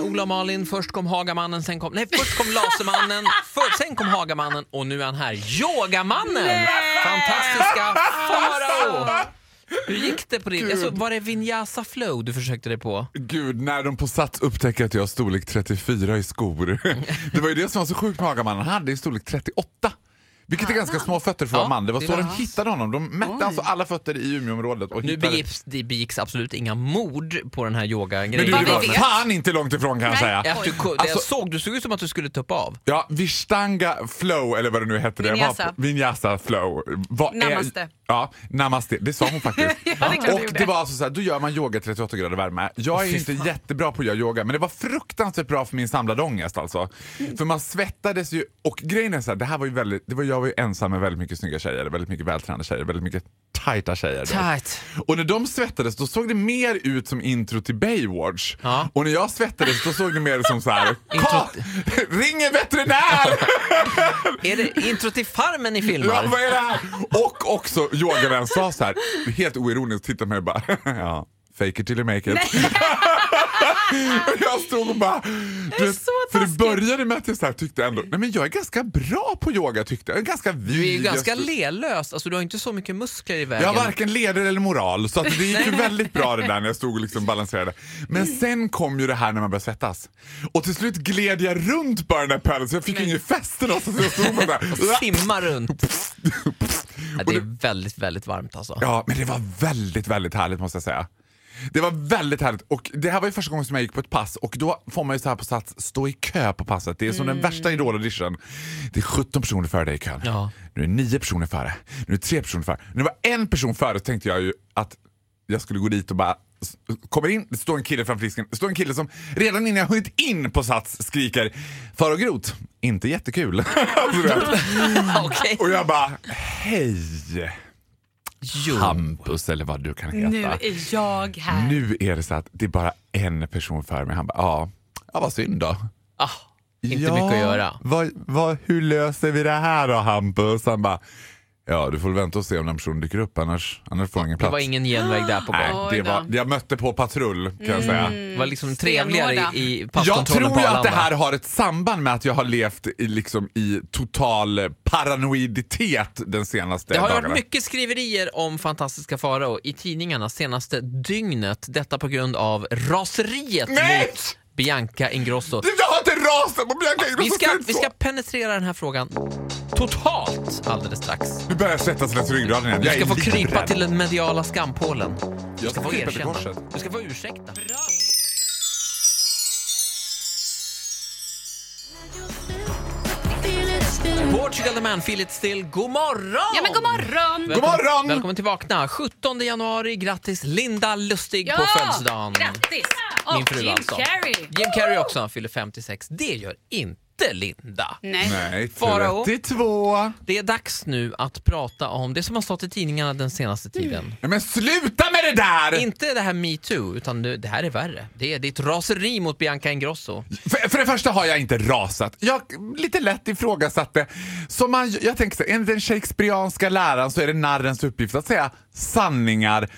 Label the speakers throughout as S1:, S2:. S1: Ola och Malin, först kom Hagamannen, sen kom... Nej, först kom Lasermannen, för, sen kom Hagamannen och nu är han här. Yogamannen! Fantastiska Farao! Hur gick det på din...
S2: Alltså! Gud.
S1: Jag såg, var det Vinyasa Flow du försökte dig på?
S2: Gud, när de på Sats upptäcker att jag har storlek 34 i skor. Det var ju det som var så sjukt med Hagamannen. Han hade ju storlek 38. Vilket är ganska små fötter för att
S1: Ja,
S2: vara man. Det var
S1: det
S2: så
S1: var
S2: de
S1: hans.
S2: hittade honom. De mätte alltså alla fötter i Umeåområdet. Och
S1: Nu
S2: hittade...
S1: begicks, det begicks absolut inga mord på den här
S2: Men du,
S1: yogagrejen.
S2: det
S3: Vad vi
S2: var
S3: vet.
S2: fan inte långt ifrån kan jag
S3: Nej.
S2: säga.
S1: Efter du, det
S2: Alltså-
S1: jag såg, du såg ut som att du skulle tuppa av.
S2: Ja, Vishtanga flow, eller vad det nu hette. det.
S3: Vinyasa.
S2: Vad- Vinyasa flow. Vad Är,
S3: Namaste.
S2: ja, namaste. Det sa hon faktiskt.
S3: är klart hon
S2: och det
S3: gjorde.
S2: var alltså så här, då gör man yoga 38 grader värme. Jag är inte jättebra på att göra yoga, men det var fruktansvärt bra för min samlade ångest alltså.
S3: Mm.
S2: För man svettades ju, och grejen är så här, det här var ju väldigt, det var, jag var ju ensam med väldigt mycket snygga tjejer, väldigt mycket vältränade tjejer, väldigt mycket tajta tjejer. du vet.
S1: Tight.
S2: Och när de svettades då såg det mer ut som intro till Baywatch. Och när jag svettades då såg det mer som så här, "Ka- ring en veterinär!
S1: Är det intro till Farmen ni
S2: Ja,
S1: filmar?
S2: vad är det här? Och också yogavän sa så här, helt oironiskt, tittade på mig och bara, ja, fake it till you make it. Och jag stod och bara, du vet,
S3: så
S2: för det
S3: taskigt.
S2: började med att jag så här tyckte ändå, nej men jag är ganska bra på yoga tyckte jag. jag är ganska vid.
S1: Du är ju ganska
S2: jag stod-
S1: lelös, alltså du har inte så mycket muskler i vägen.
S2: jag har varken leder eller moral, så att det gick ju väldigt bra det där när jag stod och liksom balanserade. Men sen kom ju det här när man började svettas. Och till slut gled jag runt bara den där pölen så jag fick ju ingen fäste någonstans. så Jag stod bara där.
S1: Simma runt. Ja, det är väldigt, väldigt varmt alltså.
S2: Ja, men det var väldigt, väldigt härligt måste jag säga. Det var väldigt härligt och det här var ju första gången som jag gick på ett pass och då får man ju så här på sats stå i kö på passet. Det är som den värsta idol-audition. Det är 17 personer före dig i kön.
S1: Ja.
S2: Nu är det 9 personer före. Nu är det 3 personer före. När det var en person före så tänkte jag ju att jag skulle gå dit och bara s- Kommer in, det står en kille framför disken. Det står en kille som redan innan jag hunnit in på Sats skriker Farao Groth, inte jättekul. Alltså, Du vet.
S1: Okej.
S2: och jag bara, hej!
S1: Jo.
S2: Hampus eller vad du kan heta.
S3: Nu är jag här.
S2: Nu är det så att det är bara en person för mig. Han bara, ja, ja vad synd då.
S1: Ah, inte
S2: ja,
S1: mycket att göra.
S2: Vad, vad, hur löser vi det här då Hampus? Han bara, ja du får väl vänta och se om den personen dyker upp annars, annars får du ingen
S1: Det
S2: plats.
S1: var ingen genväg där på
S2: Nej,
S1: gång.
S2: det
S3: Oj då.
S2: var, jag mötte på patrull kan jag säga.
S1: Det var liksom trevligare i, i
S2: Jag tror
S1: passkontrollen på
S2: ju att det
S1: Arlanda.
S2: här har ett samband med att jag har levt i, liksom, i total paranoiditet den senaste
S1: Det har ju
S2: dagarna.
S1: varit mycket skriverier om fantastiska Farao i tidningarna senaste dygnet. Detta på grund av raseriet
S2: Nej!
S1: mot Bianca Ingrosso.
S2: Jag har inte rasat på Bianca Ingrosso!
S1: Vi ska,
S2: slut
S1: vi
S2: så.
S1: ska penetrera den här frågan totalt alldeles strax.
S2: Nu börjar jag svettas längs ryggraden igen.
S1: Du
S2: Jag
S1: ska
S2: är
S1: få
S2: livrädd.
S1: krypa till den mediala skampålen. Du
S2: ska
S1: ska få
S2: krypa till
S1: erkänna.
S2: korset.
S1: Du ska få ursäkta. Portugal the man, Feel it still. God morgon!
S3: Ja men god morgon!
S1: Välkommen-
S2: God morgon!
S1: Välkommen till Vakna. 17 januari. Grattis Linda Lustig
S3: Ja!
S1: på födelsedagen.
S3: Grattis! Och
S1: Min fru
S3: Jim
S1: alltså.
S3: Carrey.
S1: Jim Carrey också. Han fyller 56. Det gör inte Linda.
S3: Nej.
S2: Nej,
S1: Farao.
S2: 32.
S1: Det är dags nu att prata om det som har stått i tidningarna den senaste
S3: Mm.
S1: tiden.
S2: Nej, men sluta med det där!
S1: Inte det här metoo, utan det det här är värre. Det är ditt raseri mot Bianca Ingrosso.
S2: För, för det första har jag inte rasat. Jag lite lätt ifrågasatte. Som man, jag tänker så här, enligt den shakespearianska läran så är det narrens uppgift att säga sanningar.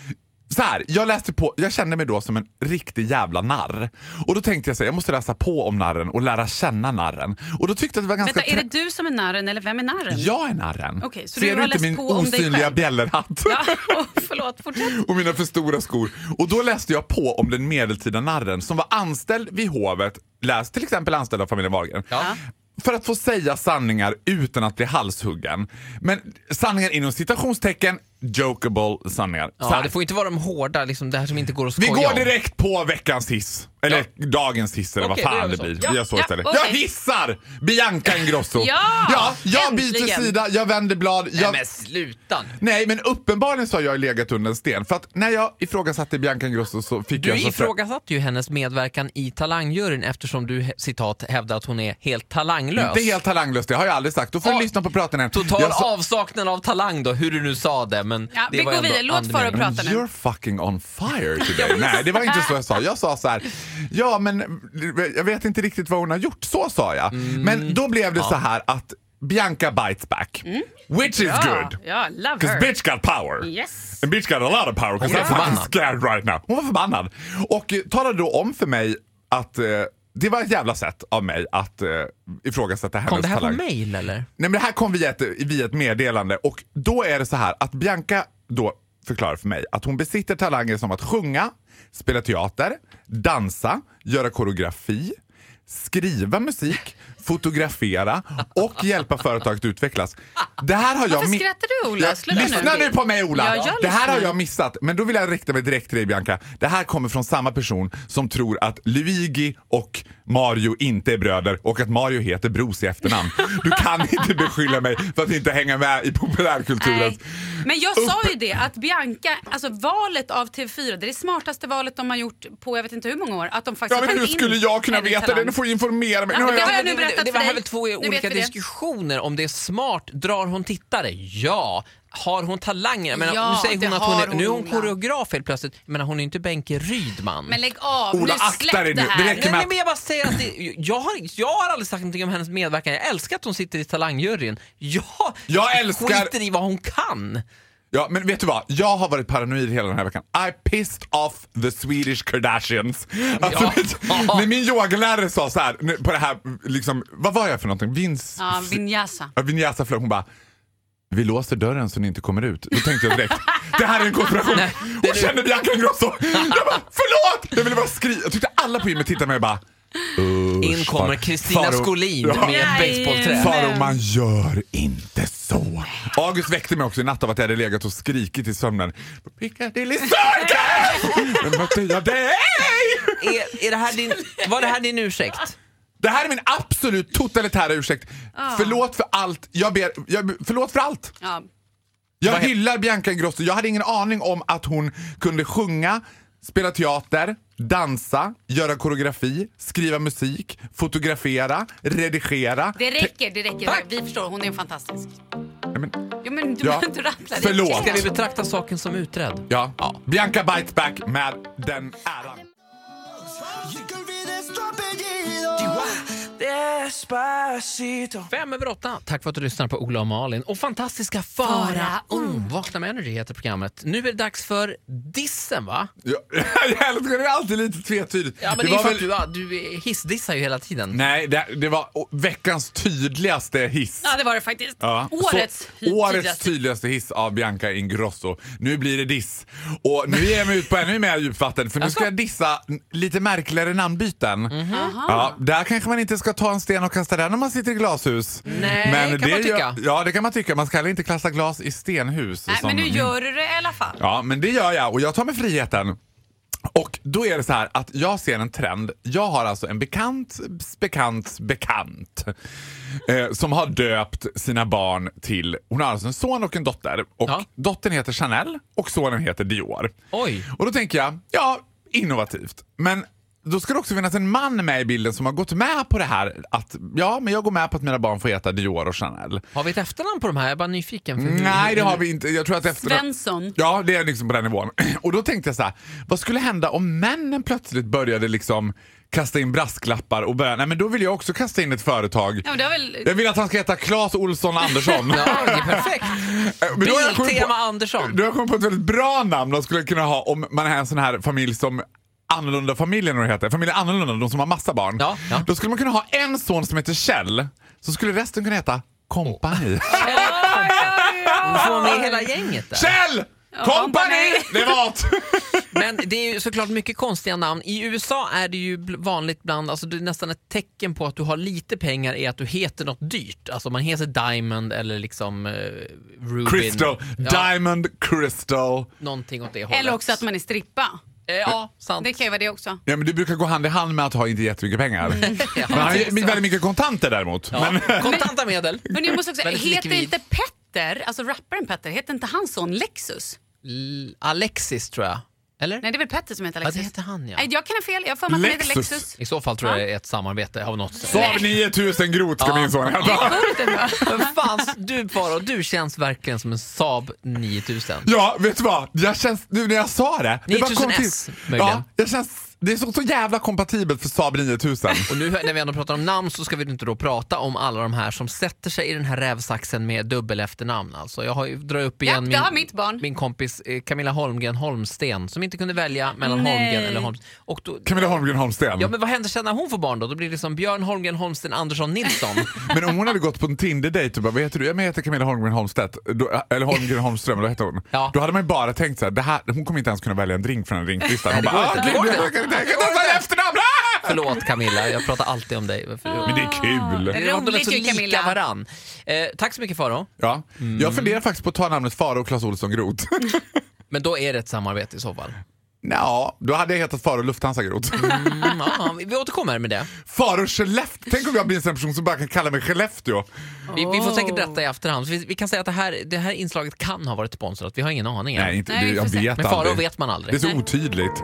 S2: Så här, jag läste på, jag kände mig då som en riktig jävla narr. Och då tänkte jag så här, jag måste läsa på om narren och lära känna narren. Och då tyckte jag att det var ganska...
S3: Vänta, är det
S2: trä-
S3: du som är narren eller vem är narren?
S2: Jag är narren.
S3: Okej, så du
S2: Ser
S3: har
S2: du inte
S3: läst
S2: min
S3: på om dig
S2: osynliga
S3: själv?
S2: bjällerhatt?
S3: Ja, förlåt, fortsätt.
S2: och mina för stora skor. Och då läste jag på om den medeltida narren som var anställd vid hovet, läs till exempel anställd av familjen Wahlgren.
S1: Ja.
S2: För att få säga sanningar utan att bli halshuggen. Men sanningar inom citationstecken, jokeable sanningar. Så
S1: Ja,
S2: här.
S1: det får inte vara de hårda, liksom det här som inte går att
S2: Vi
S1: skoja
S2: går
S1: om.
S2: direkt på veckans hiss. Eller dagens hiss eller
S1: Okej,
S2: vad
S1: då gör
S2: fan
S1: vi
S2: det
S1: så.
S2: blir.
S3: Ja,
S2: Vi gör så
S3: ja,
S2: istället.
S3: okej.
S2: Jag hissar Bianca Ingrosso.
S3: Ja,
S2: ja jag byter
S3: äntligen.
S2: sida, jag vänder blad. Jag...
S1: Nej men sluta nu.
S2: Nej, men uppenbarligen så har jag legat under en sten. För att när jag ifrågasatte Bianca Ingrosso så fick jag...
S1: Du
S2: en sån frö-
S1: ifrågasatte ju hennes medverkan i Talangjuryn eftersom du he- citat hävdar att hon är helt talanglös.
S2: Inte helt talanglöst, det har jag aldrig sagt. Då får du
S1: Ja.
S2: lyssna på praten igen.
S1: Total
S2: jag sa-
S1: avsaknad av talang då, hur du nu sa det. Men
S3: Ja,
S1: det
S3: vi
S1: var
S3: går
S1: ändå
S3: vidare. Låt
S1: andemeningen.
S3: Farao prata.
S2: Men
S3: nu.
S2: You're fucking on fire today. Nej, det var inte så jag sa. Jag sa så här, ja men jag vet inte riktigt vad hon har gjort. Så sa jag.
S1: Mm.
S2: Men då blev det så här att Bianca bites back.
S1: Mm.
S2: Which is
S3: Ja,
S2: good.
S3: ja, love
S2: Because
S3: her.
S2: bitch got power.
S3: Yes.
S2: And bitch got a lot of power because
S1: Hon
S2: I'm
S1: var
S2: fucking
S1: förbannad.
S2: scared right now. Hon var förbannad. Och eh, talade då om för mig att eh, Det var ett jävla sätt av mig att eh, ifrågasätta hennes
S1: Kom det här på
S2: talang.
S1: mail eller?
S2: Nej men det här kom via ett, via ett meddelande och då är det så här att Bianca då förklarar för mig att hon besitter talanger som att sjunga, spela teater, dansa, göra koreografi, skriva musik, fotografera och hjälpa företag att utvecklas. Det här har jag
S3: Varför
S2: mi-
S3: skrattar du, Ola?
S2: Jag-
S3: Sluta nu.
S2: lyssna nu på mig Ola!
S3: Ja, jag
S2: det här har
S3: lyssnar.
S2: jag missat. Men då vill jag rikta mig direkt till dig Bianca. Det här kommer från samma person som tror att Luigi och Mario inte är bröder och att Mario heter Bros i efternamn. Du kan inte beskylla mig för att inte hänga med i populärkulturen.
S3: Nej. Men jag sa ju det att Bianca, alltså valet av TV4, det är det smartaste valet de har gjort på jag vet inte hur många år. Att de faktiskt
S2: Ja, men
S3: har
S2: hur
S3: tagit in
S2: skulle jag kunna
S3: Henrik
S2: veta det?
S3: Talang.
S2: Du får informera mig.
S3: Ja,
S2: Nu har
S3: men det har
S2: jag...
S3: jag nu berättat
S1: det, det
S3: för
S1: var här
S3: dig.
S1: väl två
S3: Nu vet
S1: olika
S3: vi det.
S1: diskussioner om det är smart. Drar hon tittare? Ja. Har hon talanger? Men
S3: Ja,
S1: nu säger
S3: det
S1: hon att hon är,
S3: har hon,
S1: nu är hon
S3: Ola.
S1: koreograf helt plötsligt. Men hon är inte Benke Rydman.
S3: Men lägg av,
S2: Ola,
S3: nu
S2: akta dig
S3: släpp
S2: nu.
S3: det
S2: Det
S3: här.
S2: räcker.
S1: Nej, nej, men jag bara säger att det, jag, har, jag har aldrig sagt någonting om hennes medverkan. Jag älskar att hon sitter i talangjuryn. Jag,
S2: Jag älskar-
S1: skiter i vad hon kan.
S2: Ja, men vet du vad? Jag har varit paranoid hela den här veckan. I pissed off the Swedish Kardashians. Alltså,
S1: Ja.
S2: när min yogalärare sa så här, nu, på det här, liksom, vad var jag för någonting? Vins...
S3: Ja, Vinyasa.
S2: Ja, Vinyasa flög, hon bara vi låser dörren så ni inte kommer ut. Då tänkte jag direkt, det här är en konspiration.
S1: Nej, det är
S2: Hon känner Bianca Ingrosso. Jag bara, förlåt! Jag ville bara skrika. Jag tyckte alla på gymmet tittade på mig och bara,
S1: In kommer
S2: fan.
S1: Kristina
S2: Faro-
S1: Skolin
S2: Ja.
S1: med ett basebollträ.
S3: Jajamän.
S2: Faro man gör inte så. August väckte mig också i natt av att jag hade legat och skrikit i sömnen. Piccadilly Circus! Men vad säger jag dig?
S1: Är, är det här din, var det här din ursäkt?
S2: Det här är min absolut totalitära ursäkt. Förlåt för allt. Jag ber, jag, förlåt för allt.
S3: Ja.
S2: Jag
S1: Vad he-
S2: hyllar Bianca Ingrosso. Jag hade ingen aning om att hon kunde sjunga, spela teater, dansa, göra koreografi, skriva musik, fotografera, redigera.
S3: Det räcker, det räcker.
S1: Tack.
S3: Vi förstår, hon är fantastisk.
S2: Nej, men,
S3: Jo, men du,
S2: Ja.
S3: du rattlar. det.
S2: Förlåt.
S1: Ska vi betrakta saken som utredd?
S2: ja. Bianca Bites Back med den äran.
S1: Fem över åtta. Tack för att du lyssnar på Ola och Malin och fantastiska Fara Ung. Vakna med Energy heter programmet. Nu är det dags för dissen va?
S2: Ja, jag älskar det, är alltid lite tvetydigt.
S1: Ja, men det är för att du, du hissdissar ju hela tiden.
S2: Nej, det, det var o- veckans tydligaste hiss.
S3: Ja, det var det faktiskt.
S2: Ja.
S3: Årets
S2: Så, årets
S3: tydligaste.
S2: tydligaste hiss av Bianca Ingrosso. Nu blir det diss. Och nu ger jag mig ut på ännu mer djupvatten för nu ska jag dissa n- lite märkligare namnbyten. Ja, där kanske man inte ska ta en sten och kasta den när man sitter i glashus.
S1: Nej, kan man
S2: gör-
S1: tycka.
S2: Ja, det kan man tycka. Man ska heller inte klassa glas i stenhus.
S3: Nej,
S2: som-
S3: men nu gör du det i alla fall.
S2: Ja, men det gör jag och jag tar mig friheten. Och då är det så här att jag ser en trend. Jag har alltså en bekant, bekant, bekant eh, som har döpt sina barn till... Hon har alltså en son och en dotter. Och
S1: Ja.
S2: Dottern heter Chanel och sonen heter Dior.
S1: Oj.
S2: Och då tänker jag, ja, innovativt. Men då ska det också finnas en man med i bilden som har gått med på det här att ja, men jag går med på att mina barn får heta Dior och Chanel.
S1: Har vi ett efternamn på de här? Jag är bara nyfiken. För
S2: Nej, det har vi inte. Jag tror att efter...
S3: Svensson.
S2: Ja, det är liksom på den nivån. Och då tänkte jag så här, vad skulle hända om männen plötsligt började liksom kasta in brasklappar och börja, nej men då vill jag också kasta in ett företag.
S3: Ja, men det var väl...
S2: Jag vill att han ska heta Claes Olsson Andersson.
S1: Ja, det är perfekt.
S2: Men då har jag kommit
S1: Biltema
S2: på,
S1: Andersson.
S2: du har jag kommit på ett väldigt bra namn de skulle kunna ha om man är en sån här familj som Annorlunda familjen eller vad det heter. Familjen Annorlunda, de som har massa barn.
S1: Ja, ja.
S2: Då skulle man kunna ha en son som heter Kjell, så skulle resten kunna heta Kompani.
S1: Du får vara med hela gänget där.
S2: Kjell! Kompani!
S3: Company!
S2: Det var åt.
S1: Men det är ju såklart mycket konstiga namn. I USA är det ju bl- vanligt bland, alltså det är nästan ett tecken på att du har lite pengar är att du heter något dyrt. Alltså man heter Diamond eller liksom eh, Rubin.
S2: Crystal.
S1: Ja,
S2: Diamond Crystal.
S1: någonting åt det hållet.
S3: Eller också att man är strippa.
S1: Eh, ja, sant.
S3: Det kan ju vara det också.
S2: Ja, men du brukar gå hand i hand med att ha inte jättemycket pengar.
S1: Mm. Ja,
S2: Men han har ju
S1: precis.
S2: väldigt mycket kontanter däremot. Men,
S1: ja. Kontanta medel.
S3: Men jag måste också säga,
S1: Väldigt
S3: heter
S1: likvid.
S3: inte Petter, alltså rapparen Petter, heter inte hans son Lexus?
S1: L- Alexis tror jag. Eller?
S3: Nej, det är väl Petter som heter
S1: ja,
S3: Lexus?
S1: det heter han ja.
S3: Nej, jag kan ha fel. Jag har för mig att han heter
S2: Lexus.
S3: Lexus.
S1: I så fall tror jag det är ett samarbete av något slag.
S2: Saab 9000 Groth ska min son heta.
S1: Men fan, du Faro, du känns verkligen som en Saab 9000.
S2: Ja, vet du vad? Jag känns, nu när jag sa det. det bara kom
S1: 9000 S,
S2: till-
S1: möjligen.
S2: ja, jag känns Det är så, så jävla kompatibelt för Saab 9000.
S1: Och nu när vi ändå pratar om namn så ska vi inte då prata om alla de här som sätter sig i den här rävsaxen med dubbel efternamn. Alltså jag har ju, drar upp
S3: Japp,
S1: igen
S3: det
S1: min,
S3: har mitt barn.
S1: min kompis eh, Camilla Holmgren Holmsten som inte kunde välja mellan
S3: Nej.
S1: Holmgren eller Holmsten. Och då,
S2: Camilla Holmgren Holmsten.
S1: ja men vad händer sen när hon får barn då? Då blir det som Björn Holmgren Holmsten Andersson Nilsson.
S2: Men om hon hade gått på en Tinder-dejt och bara, vad heter du? Ja, men Jag heter Camilla Holmgren Holmstedt. Då, eh, eller Holmgren Holmström, eller vad heter hon?
S1: Ja.
S2: Då hade man ju bara tänkt så här, det här, hon kommer inte ens kunna välja en drink från en drinklista. Hon
S1: det
S2: bara,
S1: går
S2: ah,
S1: inte.
S2: gud,
S1: Det går
S2: jag
S1: inte.
S2: kan jag kan inte ens välja efternamn! Ah!
S1: Förlåt Camilla, jag pratar alltid om dig. För,
S2: Men det är
S3: Ah, Det
S2: kul.
S3: är
S1: det var att de är
S3: roligt
S1: så
S3: ju,
S1: lika
S3: Camilla.
S1: varann. Eh, tack så mycket Faro.
S2: Ja. Jag funderar faktiskt på att ta namnet Faro och Clas Ohlson Groth.
S1: Men då är det ett samarbete i så fall.
S2: Ja, då hade jag hetat Faro Lufthansa Groth.
S1: Mm, ja, vi- vi återkommer med det.
S2: Faro Skellefteå. Tänk om jag blir en sån person som bara kan kalla mig Skellefteå.
S1: Vi, vi får
S3: Oh.
S1: säkert berätta i efterhand. Vi, vi kan säga att det här, det här inslaget kan ha varit sponsrat. Vi har ingen aning än.
S2: Nej, inte,
S3: Nej,
S2: det,
S3: vi
S2: jag
S3: får se.
S2: vet
S1: Men Farao
S2: aldrig.
S1: vet man
S2: Det är
S1: aldrig.
S2: så otydligt.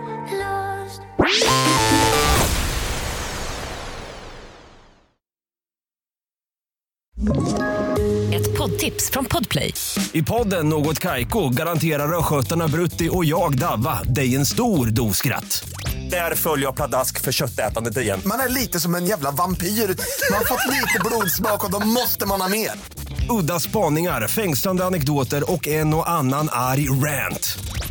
S4: Ett poddtips från Podplay.
S5: I podden Något Kaiko garanterar östgötarna Brutti och jag, Davva, dig en stor dos skratt. Där följer jag pladask för köttätandet igen.
S6: Man är lite som en jävla vampyr. Man har fått lite blodsmak och då måste man ha mer.
S5: Udda spaningar, fängslande anekdoter och en och annan arg rant.